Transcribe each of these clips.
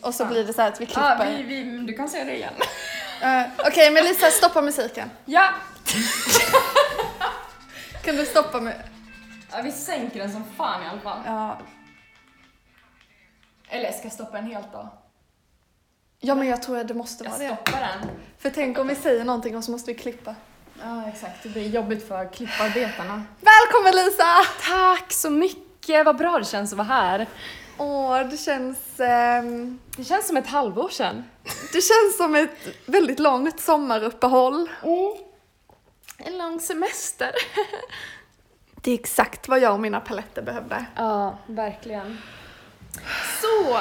och så blir det så här att Ah, vi Ja, klipper. Ah, vi, vi, du kan säga det igen. Eh, Okej, men Lisa stoppa musiken. Ja! Kan du stoppa med... ja, vi sänker den som fan i alla fall. Ja. Eller ska jag stoppa den helt då? ja, men jag tror att det måste Jag vara det. stoppar den. För tänk om vi säger någonting och så måste vi klippa. Ja, exakt. Det blir jobbigt för klipparbetarna. Välkommen Lisa! Tack så mycket! Vad bra det känns att vara här. Åh, det känns... ehm, Det känns som ett halvår sedan. det känns som ett väldigt långt sommaruppehåll. Mm. En lång semester. Det är exakt vad jag och mina paletter behövde. Ja, verkligen. Så,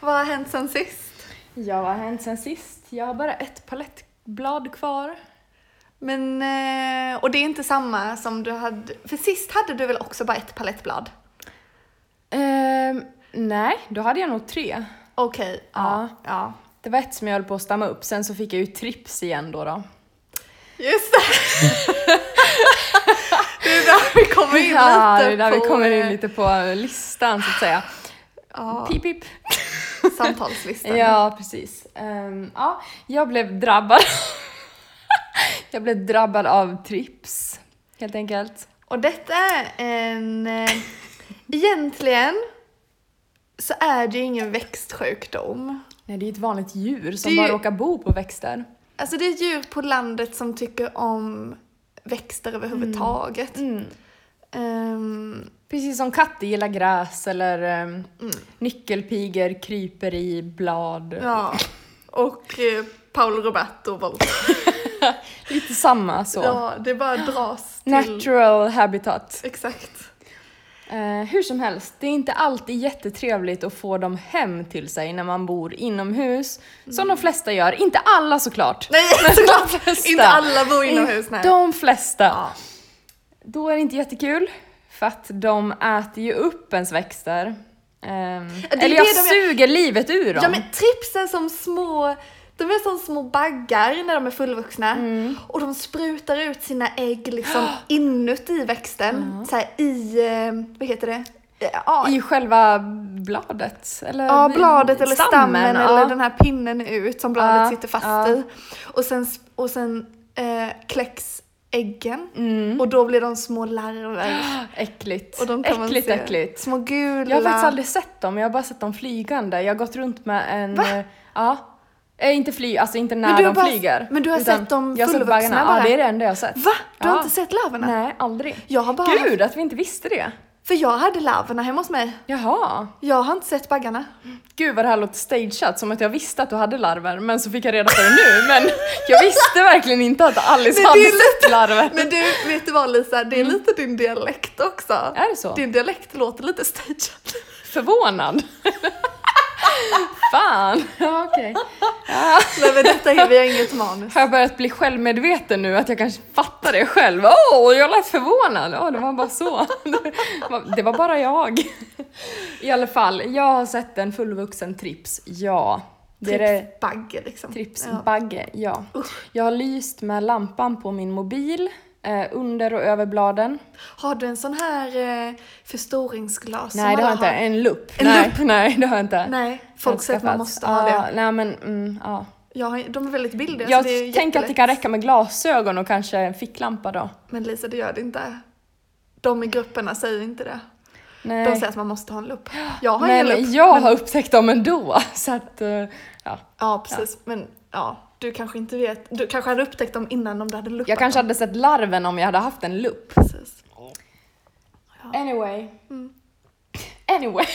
vad har hänt sen sist? Ja, vad har hänt sen sist? Jag har bara ett palettblad kvar. Men, eh, och det är inte samma som du hade... För sist hade du väl också bara ett palettblad? Ehm, nej, då hade jag nog tre. Okej, ja. ja. Det var ett som jag höll på att stamma upp, sen så fick jag ju trips igen då. då. Just det! det är där vi kommer in Ja, lite det är där vi på, kommer in eh, lite på listan så att säga. Ja, Pip, pip. samtalslistan. Ja, precis. Ehm, ja, jag blev drabbad. jag blev drabbad av trips, helt enkelt. Och detta är en... eh, Egentligen så är det ju ingen växtsjukdom. Nej, det är ett vanligt djur som Det är bara ju- råkar bo på växter. Alltså det är djur på landet som tycker om växter överhuvudtaget. Mm. Ehm, Precis som katter gillar gräs eller ehm, nyckelpigor kryper i blad. ja. Och eh, Paolo Roberto Volt. Lite samma så. Ja, det bara dras till... Natural habitat. Exakt. Eh, hur som helst, det är inte alltid jättetrevligt att få dem hem till sig när man bor inomhus. Som de flesta gör. Inte alla såklart. Mm. Nej, de såklart! flesta. Inte alla bor inomhus. Nej. De flesta. Då är det inte jättekul. För att de äter ju upp ens växter. Ehm, det eller jag de gör. suger livet ur dem. Ja men trips är som små, de är som små baggar när de är fullvuxna Mm. och de sprutar ut sina ägg liksom inuti växten, så här i, eh, vad heter det? Eh, Ja, I själva bladet? Eller ja i- bladet eller stammen, ja. eller den här pinnen ut som bladet Ja, sitter fast ja. i. Och sen, sp- och sen eh, kläcks äggen Mm. och då blir de små larver. Ah, Äckligt. Och de kan man äckligt, se. äckligt. Små gula. Jag har faktiskt aldrig sett dem, jag har bara sett dem flygande. Jag har gått runt med en... Va? eh, Ja. Eh, inte fly, alltså inte när Men du de har bara- flyger. men du har utan sett dem jag har sett fullvuxna baggarna. bara? Ja, det är det enda jag har sett. Va? Ah, Du har Ja. inte sett larverna? Nej, aldrig. Jag har bara, Gud, att vi inte visste det. för jag hade larverna hemma hos mig. Jaha. Jag har inte sett baggarna. Gud vad det här låter stageat, som att jag visste att du hade larver, men så fick jag reda på det nu. Men jag visste verkligen inte att Alice Men det hade är sett larver. Men du, vet du vad Lisa? Det är lite din dialekt också. Är det så? Din dialekt låter lite stageat. Förvånad. Fan. Ja, okej. Nej men detta är, vi har inget manus. Har jag börjat bli självmedveten nu? Att jag kanske fattar det själv? Åh, jag lät förvånad! Åh, det var bara så. Det var bara jag. I alla fall, jag har sett en fullvuxen trips, ja. Det är det Tripsbagge liksom. Ja. tripsbagge, ja. Jag har lyst med lampan på min mobil, eh, under och över bladen. Har du en sån här eh, förstoringsglas? som Nej, det har alla jag inte. En lupp. En nej, lupp? nej, det har jag inte. Nej, Jag har folk säger att man skaffat. måste ha Ja, det. Nej, men mm, ja. Jag, har- de är väldigt billiga Jag så det är tänker att det jättelätt. kan räcka med glasögon och kanske en ficklampa då. Men Lisa, det gör det inte. De i grupperna säger inte det. Nej. De säger att man måste ha en lupp. Jag har men ingen lupp. jag har upptäckt dem ändå. Så att, eh, ja. Ja, precis. Men ja, du kanske inte vet. Du kanske hade upptäckt dem innan om du hade luppat Jag kanske hade sett larven om jag hade haft en lupp. dem. Precis. Anyway. Anyway.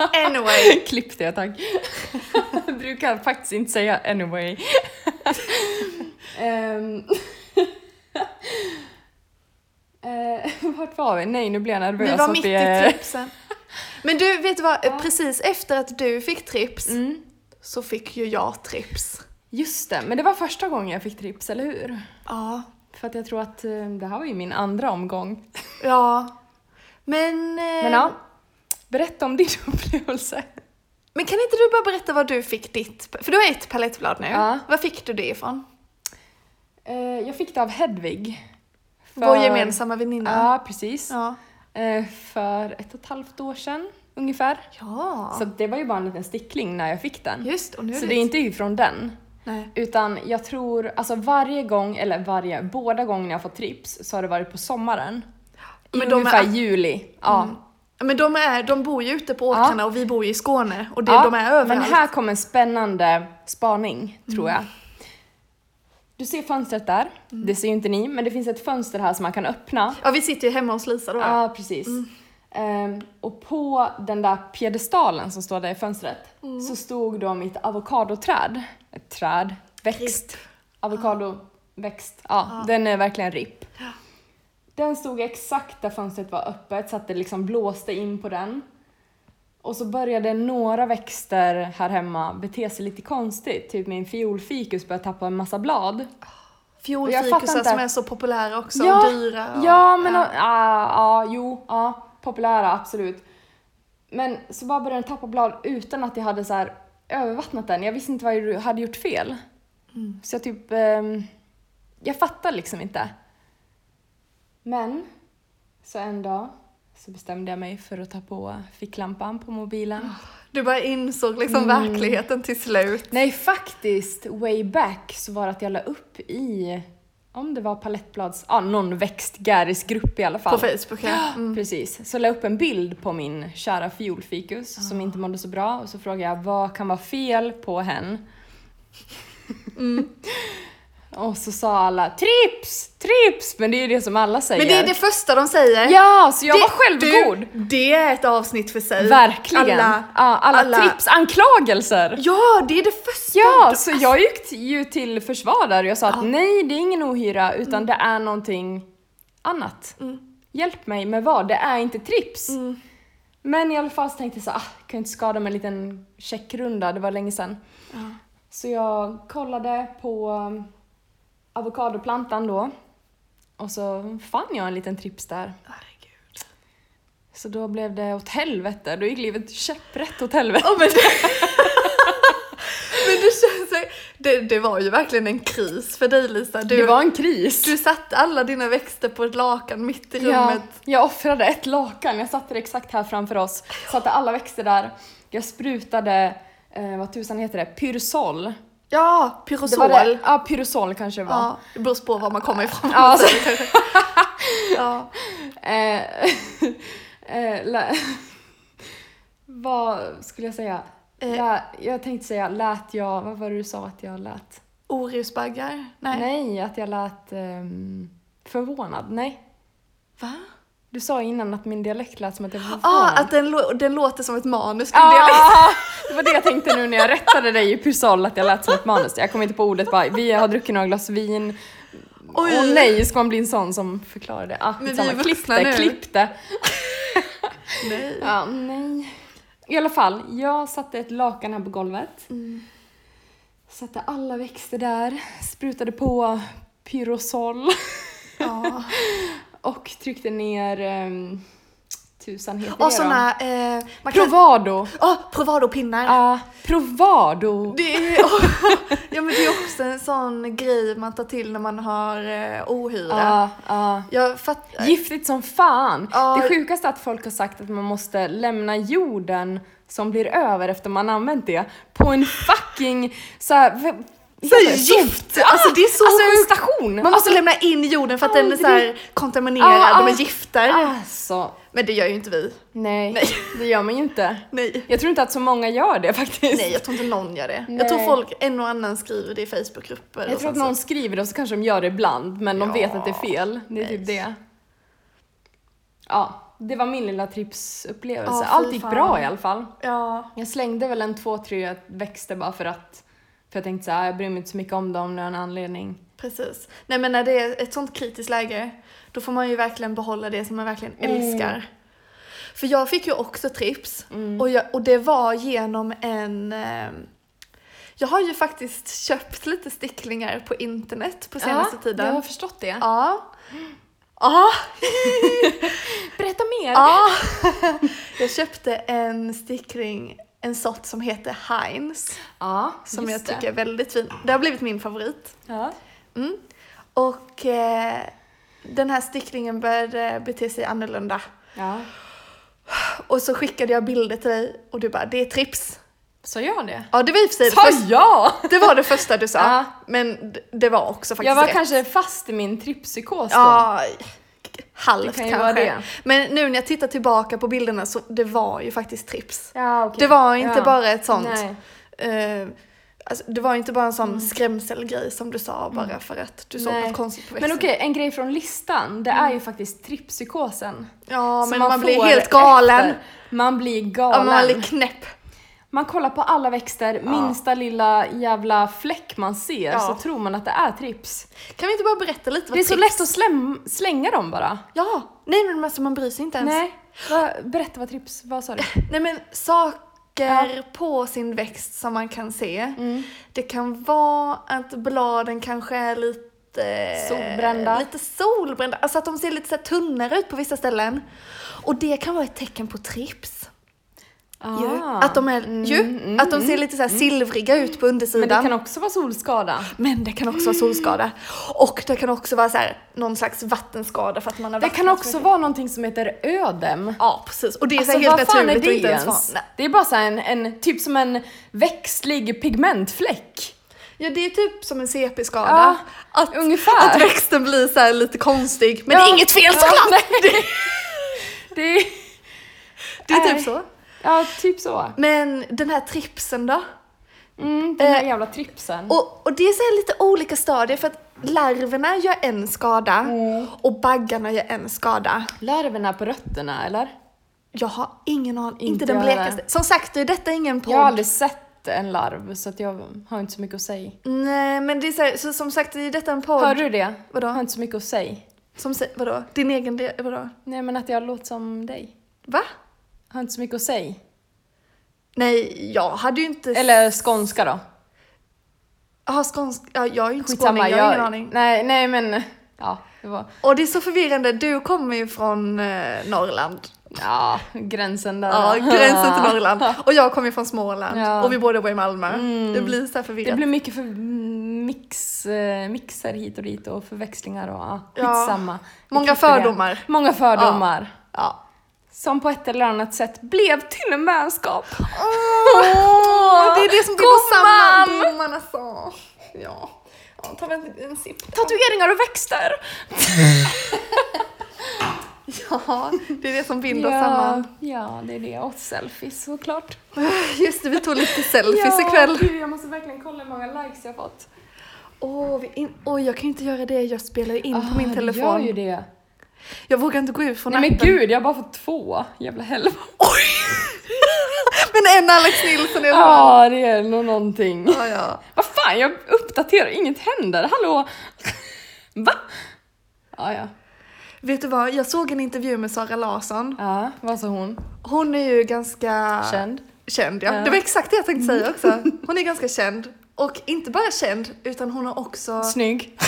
Mm. Anyway. Klipp det tack. jag brukar faktiskt inte säga anyway. Ehm. Eh, vart var vi? Nej, nu blir jag nervös. Vi var att mitt det i är- tripsen. Men du, vet du vad? Precis efter att du fick trips Mm. så fick ju jag trips. Just det, men det var första gången jag fick trips, eller hur? Ja. För att jag tror att eh, det här var ju min andra omgång. Ja. Men, eh, Men ja, berätta om din upplevelse. men kan inte du bara berätta vad du fick ditt... För du har ett palettblad nu. Ja. Vad fick du det ifrån? Eh, jag fick det av Hedvig. För- Vår gemensamma väninna. Ja, precis. Ja. Eh, för ett och ett halvt år sedan. ungefär. Ja, Så det var ju bara en liten stickling när jag fick den. just och nu Så det är inte ifrån den. Nej. Utan jag tror, alltså varje gång, eller varje, båda gångerna jag har fått trips så har det varit på sommaren. I Men de är- ungefär juli. Ja. Men de, är, de bor ju ute på Ja. åkrarna och vi bor ju i Skåne och det, Ja, de är överallt. Men här kommer en spännande spaning, tror Mm. jag. Du ser fönstret där, det ser ju inte ni, men det finns ett fönster här som man kan öppna. Ja, vi sitter ju hemma hos Lisa då. Ja, precis. Mm. Ehm, och på den där piedestalen som står där i fönstret Mm. så stod de i ett avokadoträd. Ett träd, växt. Avokadoväxt. Ja, den är verkligen ripp. Den stod exakt där fönstret var öppet så att det liksom blåste in på den. Och så började några växter här hemma bete sig lite konstigt. Typ min fiolfikus började tappa en massa blad. Jag fattar Fjolfikusar inte. som är så populära också och dyra. Och, Ja, men ja, ah, ah, jo, ah, populära absolut. Men så bara började den tappa blad utan att jag hade så här övervattnat den. Jag visste inte vad jag hade gjort fel. Mm. Så jag typ, ehm, jag fattar liksom inte. Men, så en dag så bestämde jag mig för att ta på ficklampan på mobilen. Du bara insåg liksom Mm. verkligheten till slut. Nej, faktiskt, way back så var det att jag la upp i, om det var palettblads, ja, ah, någon växtgärisgrupp i alla fall. På Facebook ja. Mm. Precis, så la jag upp en bild på min kära fiolfikus Ah. som inte mådde så bra och så frågade jag vad kan vara fel på henne? Mm. och så sa alla trips, trips! Men det är ju det som alla säger. Men det är det första de säger. Ja, så jag det, var självgod! Du, det är ett avsnitt för sig. Verkligen! Alla, Alla, ja, alla, alla- tripsanklagelser! ja, det är det första. Ja, De- så jag gick t- ju till försvar där och jag sa att nej, det är ingen ohyra utan Mm. det är någonting annat. Hjälp mig med vad? Det är inte trips. Mm. Men i alla fall så tänkte jag så ah, jag kan ju inte skada mig en liten checkrunda, det var länge sedan. Så jag kollade på um, avokadoplantan då och så fann jag en liten trips där. Herregud. Så då blev det åt helvete, då gick livet käpprätt åt helvete. Ja, men, det, men det känns... så- Det, det var ju verkligen en kris för dig Lisa. Du, Det var en kris. du satte alla dina växter på ett lakan mitt i Ja, rummet. jag offrade ett lakan, jag satte det exakt här framför oss. Satte alla växter där. Jag sprutade, eh, vad tusan heter det, pyrosol. Ja, Det pyrosol. var det. Ja, pyrosol kanske det var. Ja, det beror på var man kommer ifrån. Ja, så- Ja. Eh, eh, lä- vad skulle jag säga? Eh. Lä, jag tänkte säga, lät jag, vad var det du sa att jag lät? Orusbaggar? Nej. Nej, att jag lät ehm, förvånad. Nej, Va? du sa innan att min dialekt lät som att jag var förvånad. ah, att den, lå- den låter som ett manus. din dialekt. Ja, det var det jag tänkte nu när jag rättade dig i Pyrosol, att jag lät som ett manus. Jag kom inte på ordet bara, vi har druckit några glas vin. Åh Oj. nej, ska man bli en sån som förklarar det? Ah, Men vi skitsamma. är vuxna klipp det, nu. klipp det. Nej. Ja, nej. I alla fall, jag satte ett lakan här på golvet. Mm. Satte alla växter där, sprutade på Pyrosol Ja. och tryckte ner um, tusan heter Och det då? såna... Eh, man kan, Provado. ah, Provado-pinnar. Ja, Provado. Det är, ja, men det är också en sån grej man tar till när man har eh, ohyra. Ja, ja. Jag fattar. Giftigt som fan! Ja. Det sjukaste är att folk har sagt att man måste lämna jorden som blir över efter man använt det på en fucking så här, v- heter det? gift! Alltså det är så alltså en sjukt. station! Man måste lämna in jorden för att den är så här kontaminerad, Ja, de ja. är gifter. Alltså, Men det gör ju inte vi. nej. Nej. Det gör man ju inte. Nej. Jag tror inte att så många gör det faktiskt. Nej, jag tror inte någon gör det. Nej. Jag tror folk, en och annan skriver det i Facebookgrupper. Jag och tror att sånt. någon skriver det och så kanske de gör det ibland men de Ja. vet att det är fel. Det är typ Nej. det. Ja, det var min lilla tripsupplevelse. Ja, fy Allt gick fan. bra i alla fall. Ja. Jag slängde väl en två, tre växter bara för att för jag tänkte så här, "Ah, jag bryr mig inte så mycket om dem nu av en anledning. Precis. Nej men när det är ett sånt kritiskt läge, då får man ju verkligen behålla det som man verkligen Mm. älskar. För jag fick ju också trips Mm. och, jag, och det var genom en... Eh, jag har ju faktiskt köpt lite sticklingar på internet på senaste ja, tiden. Jag har förstått det. Ja. Ja. Berätta mer! ja. Jag köpte en stickling, en sort som heter Heinz, Ja, som just jag det. tycker är väldigt fin. Det har blivit min favorit. Ja. Mm. Och eh, den här sticklingen började bete sig annorlunda. Ja. Och så skickade jag bilder till dig och du bara, det är trips. Sa jag det? Ja, det var i och för sig det, Sa första, jag? det, var det första du sa. Ja. Men d- det var också faktiskt Jag var rätt. kanske fast i min tripspsykos då. Ja, halvt Det kan ju kanske. vara det. Men nu när jag tittar tillbaka på bilderna så det var ju faktiskt trips. Ja, okej. Det var inte Ja. bara ett sånt, Nej. Mm. eh, alltså, det var inte bara en sån skrämselgrej som du sa bara för att du såg Nej. något konstigt på växeln. Men okej, en grej från listan, det är ju faktiskt tripspsykosen. Mm. Ja, Som men man, blir får helt galen. efter. Man blir Ja, galen. man blir knäpp. Man kollar på alla växter, minsta lilla jävla fläck man ser Ja. så tror man att det är trips. Kan vi inte bara berätta lite vad det är så trips- lätt att slem- slänga dem bara. Ja, nej men alltså man bryr sig inte ens. Nej, Va, berätta vad trips, vad sa du? Nej men saker på sin växt som man kan se. Mm. Det kan vara att bladen kanske är lite Solbrända. Lite solbrända. Alltså att de ser lite så här tunnare ut på vissa ställen. Och det kan vara ett tecken på trips. ju. Ah. mm, Att de är ju, att de ser lite så här silvriga ut på Men det undersidan. kan också vara solskada. Men det kan också vara solskada. Och det kan också vara så här, någon slags vattenskada för att man har Det kan vattnat för också vara någonting som heter ödem. Ja, precis. Och det är så Alltså här helt vad fan är naturligt det och inte ens ens? vara- Det är bara så här en, en, typ som en växtlig pigmentfläck. Ja, det är typ som en CP-skada. Ja, att, ungefär. att växten blir så här lite konstig. Men Ja. det är inget fel Ja, såklart! nej. Det är, Det är Nej. typ så. ja, typ så. Men den här tripsen då? Mm, den där Eh, jävla tripsen. Och, och det är så här lite olika stadier för att larverna gör en skada och baggarna gör en skada. Larverna på rötterna, eller? Jag har ingen aning, inte, Inte den jag heller. blekaste. Som sagt, det är detta ingen podd. Jag har aldrig sett en larv, så att jag har inte så mycket att säga. Nej, men det är så, här, så som sagt, det är detta en podd. Hör du det? Vadå? Jag har inte så mycket att säga. Som, sä- vadå? Din egen del, vadå? Nej, men att jag låter som dig. Va? Jag har inte så mycket att säga. Nej, jag hade ju inte... Eller skånska då. Jaha, skånsk... Ja, jag är ju inte Skitsamma, skåning, jag har ingen aning. Nej, nej men... Ja, det var... Och det är så förvirrande, du kommer ju från eh, Norrland. Ja, gränsen där. Ja, gränsen till Norrland. Och jag kommer ju från Småland. Ja. Mm. Och vi båda bor i Malmö. Det blir så här Det förvirrat. blir mycket för mix, eh, mixer hit och dit och förväxlingar och ja, Ja. skitsamma. Många Vi klipper det. fördomar. Många fördomar. Ja. Som på ett eller annat sätt blev till en vänskap. Åh, det är det som går samman. Gumman! Gumman alltså. Ja. ja tar vi en, en sipp. Tatueringar och växter! Ja, det är det som binder oss Ja, samman. ja, det är det. Och selfies såklart. Just det, vi tog lite selfies ikväll. Gud, jag måste verkligen kolla hur många likes jag fått. Åh, vi in- Åh, jag kan ju inte göra det. Jag spelar ju in på min Jag gör ju telefon. Ah, det. Jag vågar inte gå ut från Nej men appen. gud, jag har bara fått två. Jävla helvete. Oj! Men en Alex Nilsson i alla fall. Ja, Ah, det är nog någonting. Ja, ja. Vad fan, jag uppdaterar, inget händer. Hallå? Va? Ja, ja. Vet du vad, jag såg en intervju med Sara Larsson. Ja, Ah, vad sa hon? Hon är ju ganska Känd? känd, ja. Ja. Det var exakt det jag tänkte säga också. Hon är ganska känd. Och inte bara känd, utan hon har också... Snygg?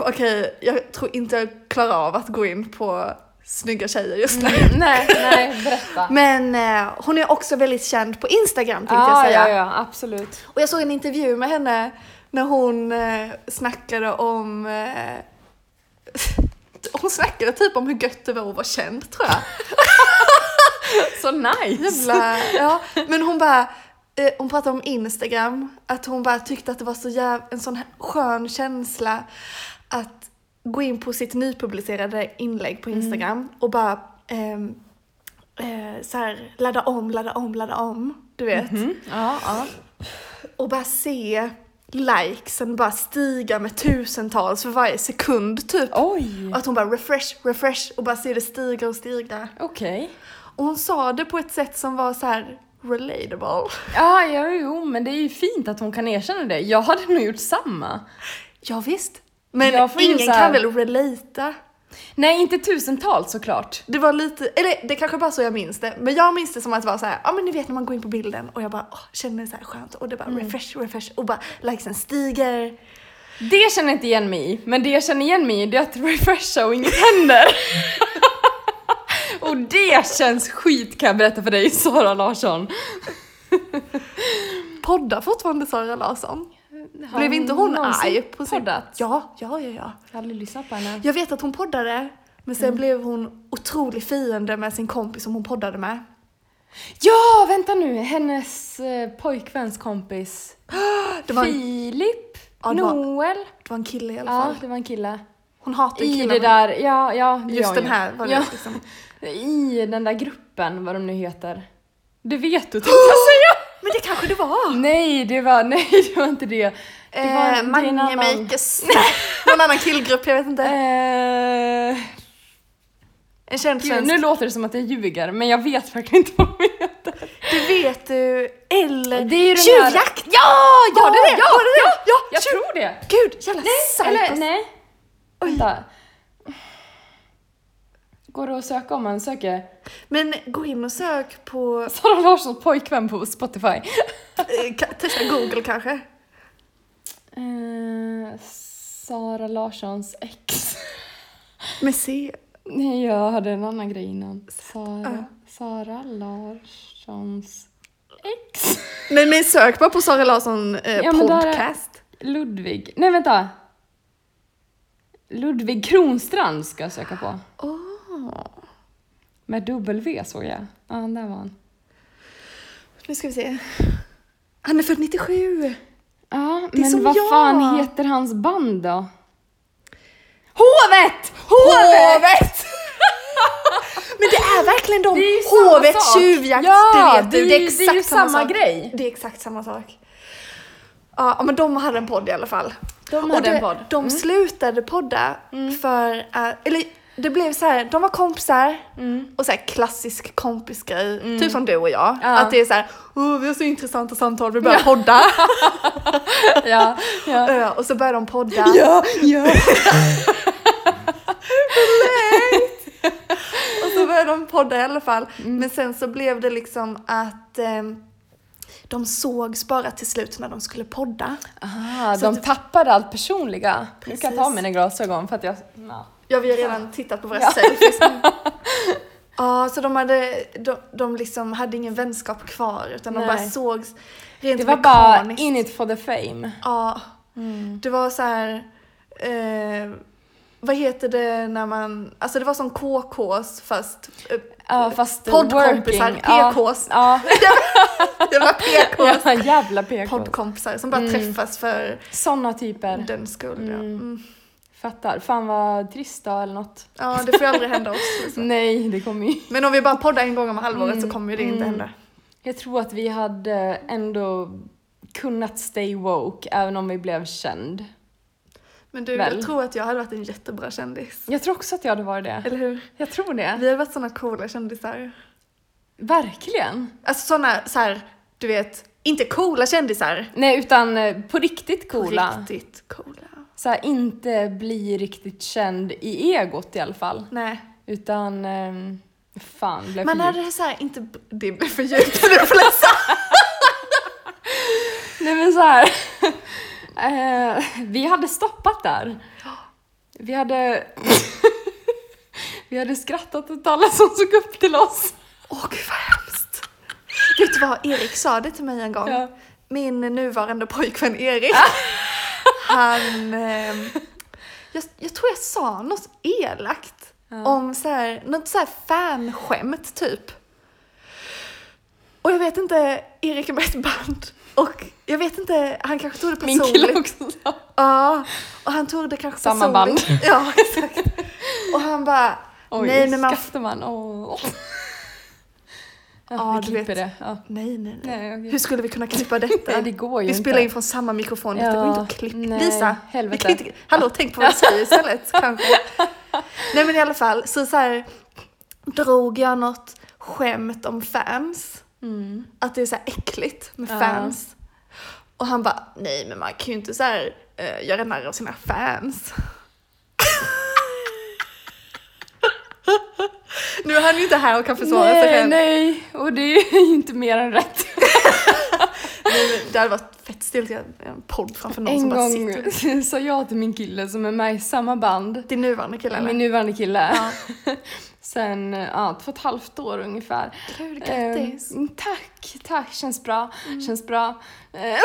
Okej, jag tror inte jag klarar av att gå in på snygga tjejer just Mm. nu. nej, nej, berätta. Men eh, hon är också väldigt känd på Instagram tänkte jag Ja, säga. Ah, ja, ja, absolut. Och jag såg en intervju med henne när hon eh, snackade om... Eh, hon snackade typ om hur gött det var att vara känd tror jag. Så nice! Jävla, ja. Men hon bara, eh, hon pratade om Instagram, att hon bara tyckte att det var så jäv, en sån här skön känsla att gå in på sitt nypublicerade inlägg på Instagram och bara ehm, eh, så här, ladda om, ladda om, ladda om, du vet. Mm, Ja, ja. Och bara se likesen bara stiga med tusentals för varje sekund typ. Oj! Och att hon bara refresh, refresh och bara se det stiga och stiga. Okej. Och hon sa det på ett sätt som var så här relatable. Ja, ja, jo, men det är ju fint att hon kan erkänna det. Jag hade nog gjort samma. Ja, visst. Men Jag får ju ingen så kan här- väl relata? Nej, inte tusentals såklart. Det var lite, eller det kanske bara så jag minns det, men jag minns det som att det var så här, ja men ni vet när man går in på bilden och jag bara åh, känner så här skönt och det bara Mm. refresh, refresh och bara likesen stiger. Det känner jag inte igen mig i, men det jag känner igen mig i det är att refresha och inget händer. och det känns skit kan jag berätta för dig, Sara Larsson. Poddar fortfarande Sara Larsson? Blev inte hon någonsin arg på sin... poddat? Ja, ja, ja, ja. Jag har aldrig lyssnat på henne. Jag vet att hon poddade, Men Mm. sen blev hon otrolig fiende med sin kompis som hon poddade med. Ja, vänta nu! Hennes eh, pojkväns kompis Det var, en, Filip? Ja, det var- Noel? det var en kille i alla Ja, fall. det var en kille. Hon hatar ju I killar. det men där, ja, ja. det Just gör den ju. här var det ja. liksom. I den där gruppen, vad de nu heter. Det vet du tänkte jag säga! Men det kanske det var. Nej, det var, nej, det var inte det. det var, det är Eh, en annan- Mangemakers. Någon annan killgrupp, jag vet inte. Eh, En känd gud, svensk. nu låter det som att jag ljuger, men jag vet verkligen inte vad de heter. Det vet du. Eller Det är ju den här- Tjuvjakt! Ja! Var det det? Ja, var det det? Ja! Jag tjuv- tror det. Gud, jävla psykos. Eller nej. Vänta. Går det att söka om man söker Men gå in och sök på... Sara Larssons pojkvän på Spotify? eh, ka- Testa Google kanske. Eh, Sara Larssons ex. Med C. Nej, jag hade en annan grej innan. Sara, Sara Larssons ex. Men, men sök bara på Sara Larsson eh, Ja, men där är- podcast. Ludvig. Nej, vänta. Ludvig Kronstrand ska jag söka på. Åh. Med W såg jag. Ja, där var han. Nu ska vi se. Han är född 97. Ja, är som men vad jag. fan heter hans band då? Hovet! Hovet! men det är verkligen de. Det är ju samma Hovet, sak. tjuvjakt, Ja, det vet du. det är ju- det är ju samma sak. grej. Det är exakt samma sak. Ja, men de hade en podd i alla fall. De Och hade det, en podd. Mm. de slutade podda för att, eller det blev så här, de var kompisar Mm. och så här klassisk kompisgrej, typ som du och jag. Ja. Att det är så här, oh, vi har så intressanta samtal, vi börjar podda. Ja, ja. Ö, och så börjar de podda. Ja, ja. Och så började de podda i alla fall. Mm. Men sen så blev det liksom att ehm, de sågs bara till slut när de skulle podda. Aha, Så de att- tappade allt personliga. Nu kan jag ta Precis. mina glasögon för att jag... Ja. Ja, vi har redan tittat på våra Ja. selfies nu. Ja, så de hade, de, de liksom hade ingen vänskap kvar utan de Nej. bara sågs rent Det var bara mekaniskt. in it for the fame. Ja. Mm. Det var så här... Eh, vad heter det när man... Alltså det var som KKs fast... Eh, Ja, fast Poddkompisar, working. Ja, PKs. Ja, det var PKs. ja jävla PKs. Poddkompisar som bara Mm. träffas för Såna typer. den skull. Ja. Mm. Fattar. Fan vad trist då, eller något. ja, det får ju aldrig hända oss. Liksom. Nej, det kommer ju... Men om vi bara poddar en gång om halvåret Mm. så kommer ju det inte hända. Jag tror att vi hade ändå kunnat stay woke även om vi blev känd. Men du, Väl. jag tror att jag hade varit en jättebra kändis. Jag tror också att jag hade varit det. Eller hur? Jag tror Vi det. hade varit såna coola kändisar. Verkligen. Alltså såna så här, du vet, inte coola kändisar. Nej, utan eh, på riktigt coola. Riktigt coola. Så här, inte bli riktigt känd i egot i alla fall. Nej. Utan, eh, fan blev Man för hade djupt. det så här, inte... Det blev för djupt för de flesta. Nej men så här. eh, vi hade stoppat där. Vi hade... vi hade skrattat åt alla som såg upp till oss. Åh gud vad hemskt. Vet du vad, Erik sa det till mig en gång. Ja. Min nuvarande pojkvän Erik. Ah. han... ehm, jag, jag tror jag sa något elakt. Om så här, något så här fanskämt typ. Och jag vet inte, Erik är med i ett band. Och jag vet inte, han kanske tog det Min personligt. kille också sa. Ja, och han tog det kanske Samma personligt. Ja, exakt. Och han bara, Oj, nej men man... skrattar man. Åh. Ja, Ja, vi du vet. klipper det. Ja. Nej, nej, nej. Nej, okej. Hur skulle vi kunna klippa detta? Nej, det går ju vi inte. spelar in från samma mikrofon, detta Ja, går inte att klippa. nej, Lisa, helvete. Vi kan inte, hallå tänk på vad jag säger istället kanske. Nej men i alla fall, så, så här, drog jag något skämt om fans. Att det är så här äckligt med Mm. Ja. fans. Och han bara, nej men man kan ju inte så här, eh, göra narr av sina fans. nu är han ju inte här och kan försvara sig Nej, själv. nej. Och det är ju inte mer än rätt. Men Det hade varit fett stelt i en en podd framför någon En som bara gång sitter. sa jag till min kille som är med i samma band, Din nuvarande kille eller? min nuvarande kille, Ja. sen ja, två och ett halvt år ungefär. Kul, grattis! Mm. Eh, tack, tack, känns bra, känns bra. Eh,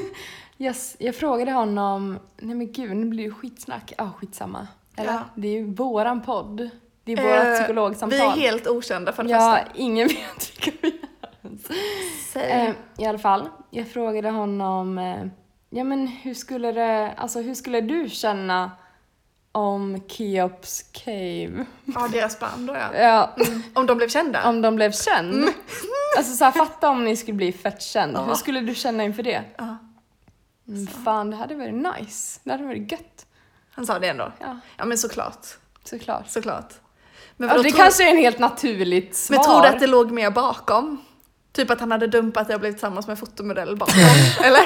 yes, jag frågade honom, nej men gud nu blir det skitsnack, ja ah, skitsamma. Eller? Ja. Det är ju våran podd. Det är vårt Eh, psykologsamtal. Vi är helt okända för det ja, första. ingen vet vilka vi är. ens. Säg. Eh, I alla fall, jag frågade honom, eh, ja men hur skulle det, alltså hur skulle du känna om Keops Cave? Ja, deras band då ja. Ja, Om de blev kända? om de blev känd? Alltså så här, fatta om ni skulle bli fett känd, hur Ja. skulle du känna inför det? Ja. Mm, fan, det hade varit nice, det hade varit gött. Han sa det ändå. Ja, Ja men såklart. såklart. Såklart. Men, Ja, vadå, det tror, kanske är en helt naturligt svar. men tror du att det låg mer bakom? Typ att han hade dumpat det och blivit tillsammans med en fotomodell bakom? Eller?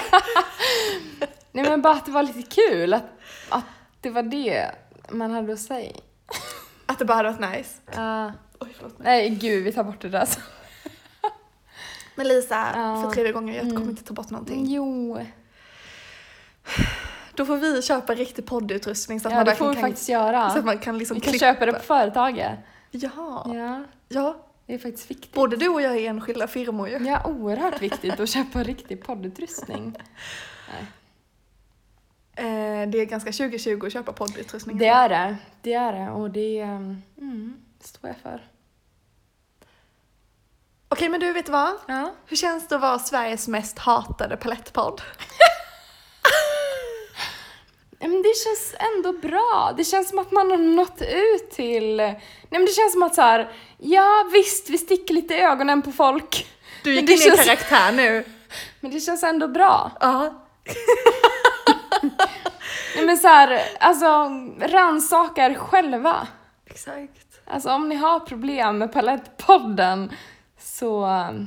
Nej men bara att det var lite kul, att, att det var det man hade att säga. Att det bara hade varit nice? Ja. Oj, förlåt mig. nej gud, vi tar bort det där så. Men Lisa, Ja. Mm. för tredje gången, jag kommer inte ta bort någonting. Jo. Då får vi köpa riktig poddutrustning så att Ja, man det får verkligen vi kan, faktiskt så att göra. man kan liksom Vi kan klippa. köpa det på företaget. Ja. Ja, ja, det är faktiskt viktigt. både du och jag är enskilda firmor ju. Ja, oerhört viktigt att köpa riktig poddutrustning. Eh, det är ganska 2020 att köpa poddutrustning. Det är det. Det är det och det ehm, mm, står jag för. Okej, men du vet vad? Ja. Hur känns det att vara Sveriges mest hatade palettpodd? Men det känns ändå bra. Det känns som att man har nått ut till... Nej men det känns som att så här, ja visst, vi sticker lite i ögonen på folk. Du Men gick det in i känns- karaktär nu. Men det känns ändå bra. Ja. Nej men så här, alltså rannsaka er själva. Exakt. Alltså om ni har problem med Palettpodden så um,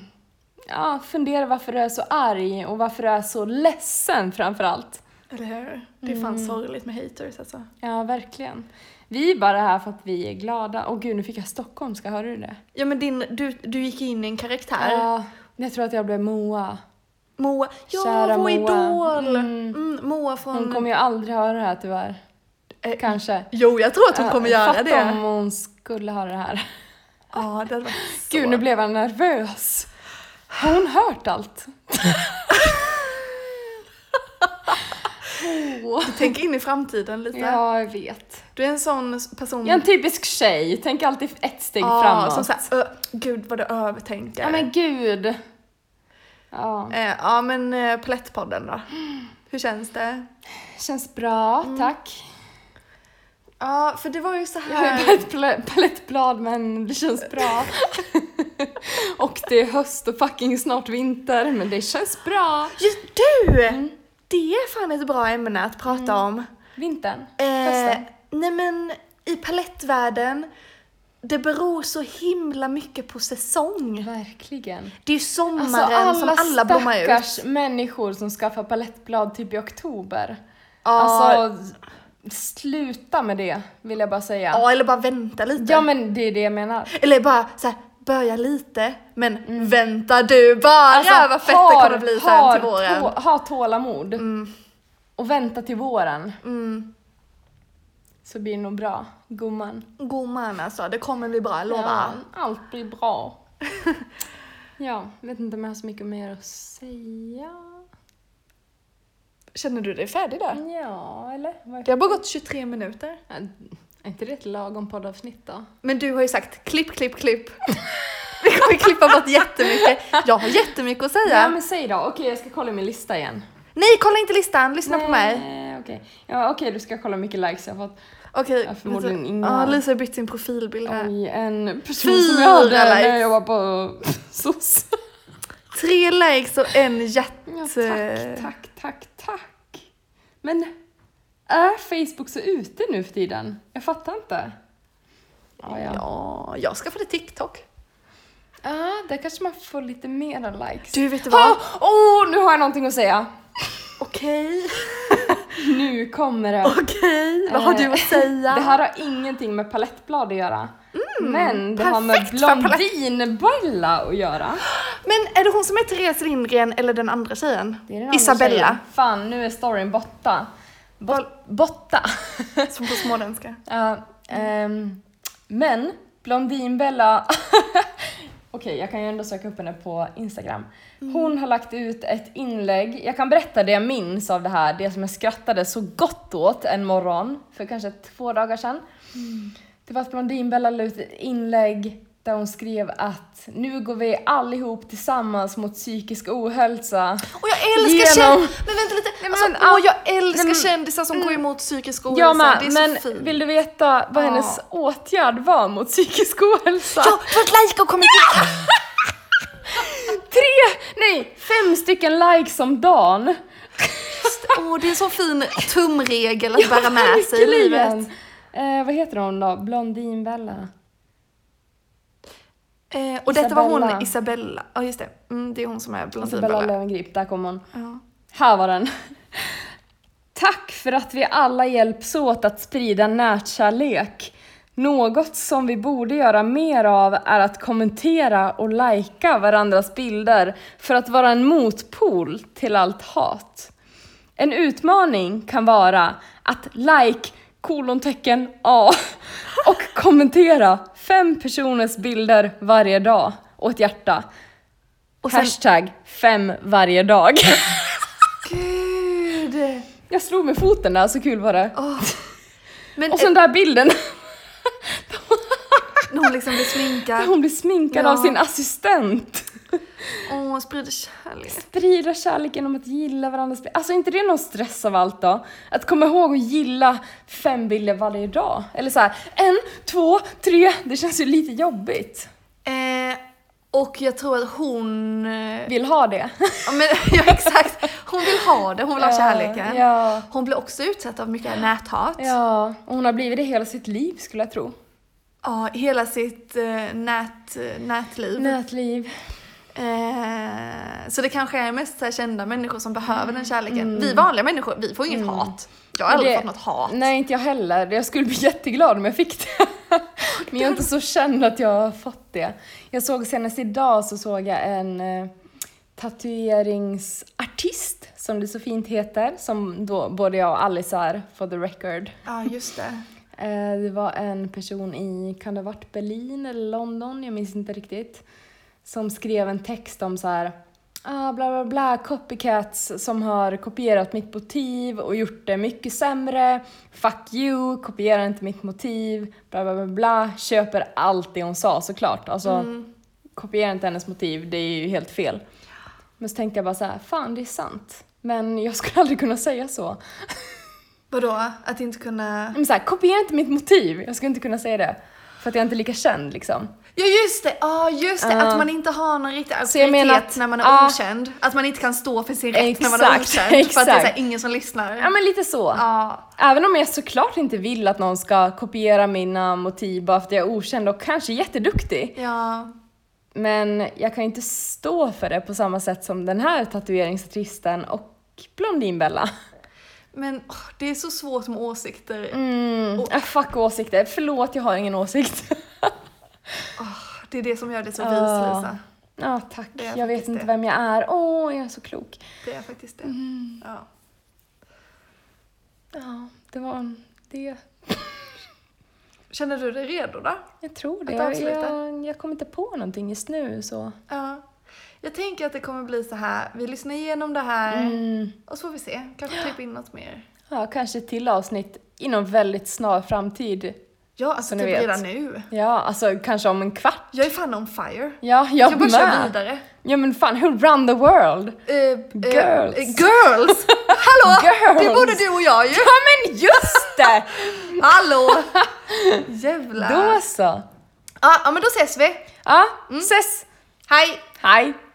ja, fundera varför du är så arg och varför du är så ledsen framförallt. Eller hur? Det är fan sorgligt med haters alltså. Ja, verkligen. Vi är bara här för att vi är glada. Och gud, nu fick jag stockholmska, hörde du det? Ja men din, du, du gick in i en karaktär. Ja, jag tror att jag blev Moa. Moa, ja Kära vår Moa. idol! Mm. Mm. Moa från... Hon kommer ju aldrig höra det här tyvärr. Eh, Kanske. Jo jag tror att hon kommer Ja, göra fatta om det. hon skulle höra det här. Ja det hade varit så. Gud, nu blev jag nervös. Har hon hört allt? Åh. Tänk in i framtiden lite. Ja, jag vet. Du är en sån person... Jag är en typisk tjej, tänker alltid ett steg Ja, framåt. Som såhär, "Ö, gud vad du övertänker. ja men gud. Ja, Eh, ja men eh, Palettpodden då. Hur känns det? känns bra, tack. Ja för det var ju så Jag har ju här. bara ett pal- palettblad men det känns bra. och det är höst och fucking snart vinter men det känns bra. Just du! Det är fan ett bra ämne att prata om. Vintern, Eh, hösten. nej men i palettvärlden, det beror så himla mycket på säsong. Verkligen. Alltså, Det är ju sommaren som Alltså, alla blommar ut. stackars människor som skaffar palettblad typ i oktober. Ja, Alltså, sluta med det vill jag bara säga. ja, eller bara vänta lite. Ja men det är det jag menar. Eller bara så här, börja lite, men vänta du bara Alltså, vad fett det kommer bli sen har till våren. tå- ha tålamod. Och vänta till våren. Mm. Så blir det nog bra, gumman. Gumman alltså, det kommer bli bra, jag lovar. Ja, allt blir bra. ja, vet inte om jag har så mycket mer att säga. Känner du dig färdig där? Ja, eller? Vad- Det har bara gått 23 minuter. Ja, Är inte det ett lagom poddavsnitt då? Men du har ju sagt klipp, klipp, klipp. Vi kommer klippa bort jättemycket. Jag har jättemycket att säga. Ja men säg då, okej jag ska kolla min lista igen. Nej, kolla inte listan, lyssna på mig. Nej, Okej, ja, okej du ska kolla hur mycket likes jag har fått. Okej, Ja, förmodligen Lisa- inga. Ja, Lisa har bytt sin profilbild här. Oj, en person som jag hade Fyra när likes. jag var på SOS. Tre likes och en hjärt... Ja, tack, eh, tack, tack, tack. Men är Facebook så ute nu för tiden? Jag fattar inte. Ja, ja. Ja, jag skaffade TikTok. Ah, där kanske man får lite mera likes. Du, vet du Ah, vad? oh, nu har jag någonting att säga. Okej, Nu kommer det. okej. Vad har Eh, du att säga? Det här har ingenting med palettblad att göra. men det har med Mm, perfekt för palett- Blondinbella att göra. Men är det hon som är Therese Lindgren eller den andra tjejen? Det är den andra Isabella. tjejen. Fan, nu är storyn borta. Bot- botta. Som på småländska. Ja, ehm, men Blondinbella... Okej, jag kan ju ändå söka upp henne på Instagram. Mm. Hon har lagt ut ett inlägg. Jag kan berätta det jag minns av det här, Mm. det som jag skrattade så gott åt en morgon för kanske två dagar sedan. Det var att Blondinbella la ut ett inlägg där hon skrev att nu går vi allihop tillsammans mot psykisk ohälsa. Och jag älskar Genom- kändisar! Men vänta lite, men alltså, all- åh, jag älskar men- Mm. kändisar som går emot psykisk ohälsa, Ja men, det är så men fint. vill du veta vad Ja. hennes åtgärd var mot psykisk ohälsa? Ja, för att like och kommentera! Tre, nej, fem stycken likes om dagen. Åh, det är en sån fin tumregel att bära med sig i Verkligen. livet. Eh, vad heter hon då? Blondinbella. Eh, och detta var Isabella. hon, Isabella. Ja, just det. Mm, det är hon som är Isabella blondinbella. Alltså, Löwengrip, där kom hon. Ja. Här var den. Tack för att vi alla hjälps åt att sprida nätkärlek. Något som vi borde göra mer av är att kommentera och lajka varandras bilder för att vara en motpol till allt hat. En utmaning kan vara att like kolontecken A och kommentera fem personers bilder varje dag och ett hjärta. Och sen- Hashtag fem varje dag. Gud! Jag slog med foten där, så kul var det. Åh. Men Och sen den där bilden, eh, när hon liksom blir sminkad. hon blir sminkad Ja. av sin assistent. Åh, hon sprider kärlek. Sprida kärlek genom att gilla varandras bilder. Alltså är inte det någon stress av allt då? Att komma ihåg att gilla fem bilder varje dag. Eller så här, en, två, tre. Det känns ju lite jobbigt. Eh, och jag tror att hon... eh, Vill ha det. Ja, men, ja, exakt. Hon vill ha det, hon vill ha Ja, kärleken. Ja. Hon blir också utsatt av mycket näthat. Ja, och hon har blivit det hela sitt liv skulle jag tro. Ja, hela sitt eh, nät, nätliv. Nätliv. Eh, så det kanske är mest så här, kända människor som behöver Mm, den kärleken. Vi vanliga människor, vi får inget hat. Jag har aldrig Det- fått något hat. Nej, inte jag heller. Jag skulle bli jätteglad om jag fick det. Men jag är inte så känd att jag har fått det. Jag såg senast idag så såg jag en eh, tatueringsartist, som det så fint heter, som då både jag och Alice är, for the record. Ja, just det. Eh, Det var en person i, kan det ha varit Berlin eller London, jag minns inte riktigt, som skrev en text om så här Ah, bla bla bla, copycats som har kopierat mitt motiv och gjort det mycket sämre. Fuck you, kopierar inte mitt motiv. Bla bla bla bla. Köper allt det hon sa såklart. Alltså, kopierar inte hennes motiv, det är ju helt fel. Men så tänkte jag bara så här, fan det är sant. Men jag skulle aldrig kunna säga så. Vadå? Att inte kunna... Men så här, kopiera inte mitt motiv. Jag skulle inte kunna säga det. För att jag är inte lika känd liksom. Ja just det, ah, just det. Ja. Att man inte har någon riktig Så jag auktoritet menar att- när man är ja. okänd. Att man inte kan stå för sin rätt när man är Exakt, okänd. För att det är så exakt. här, ingen som lyssnar. Ja men lite så. Ja. Även om jag såklart inte vill att någon ska kopiera mina motiv bara för att jag är okänd och kanske jätteduktig. Ja. Men jag kan ju inte stå för det på samma sätt som den här tatueringsartisten och Blondinbella. Men åh, det är så svårt med åsikter. Mm. Och- äh, fuck åsikter. Förlåt, jag har ingen åsikt. Det är det som gör det så Ja. vislösa. Ja, tack. Det är Jag vet faktiskt inte det. vem jag är. Åh, jag är så klok. Det är faktiskt det. Mm. Ja. Ja, det var det. Känner du dig redo då? Jag tror det. Att Jag, avsluta. jag, jag kommer inte på någonting just nu så. Ja. Jag tänker att det kommer bli så här. vi lyssnar igenom det här Mm. och så får vi se. Kanske klippa in något mer. Ja, kanske ett till avsnitt inom väldigt snar framtid. Ja, alltså Så ni typ vet. redan nu. Ja, alltså kanske om en kvart. Jag är fan on fire. Ja, jag, Jag bara kör med. vidare. Ja men fan, who run the world? Eh, eh, Girls. eh, girls! Hallå! Girls. Det borde du och jag ju! Ja men just det! Hallå! Jävlar. Då så. Ja, ja, men då ses vi. Mm. Ja, ses! Hej! Hej!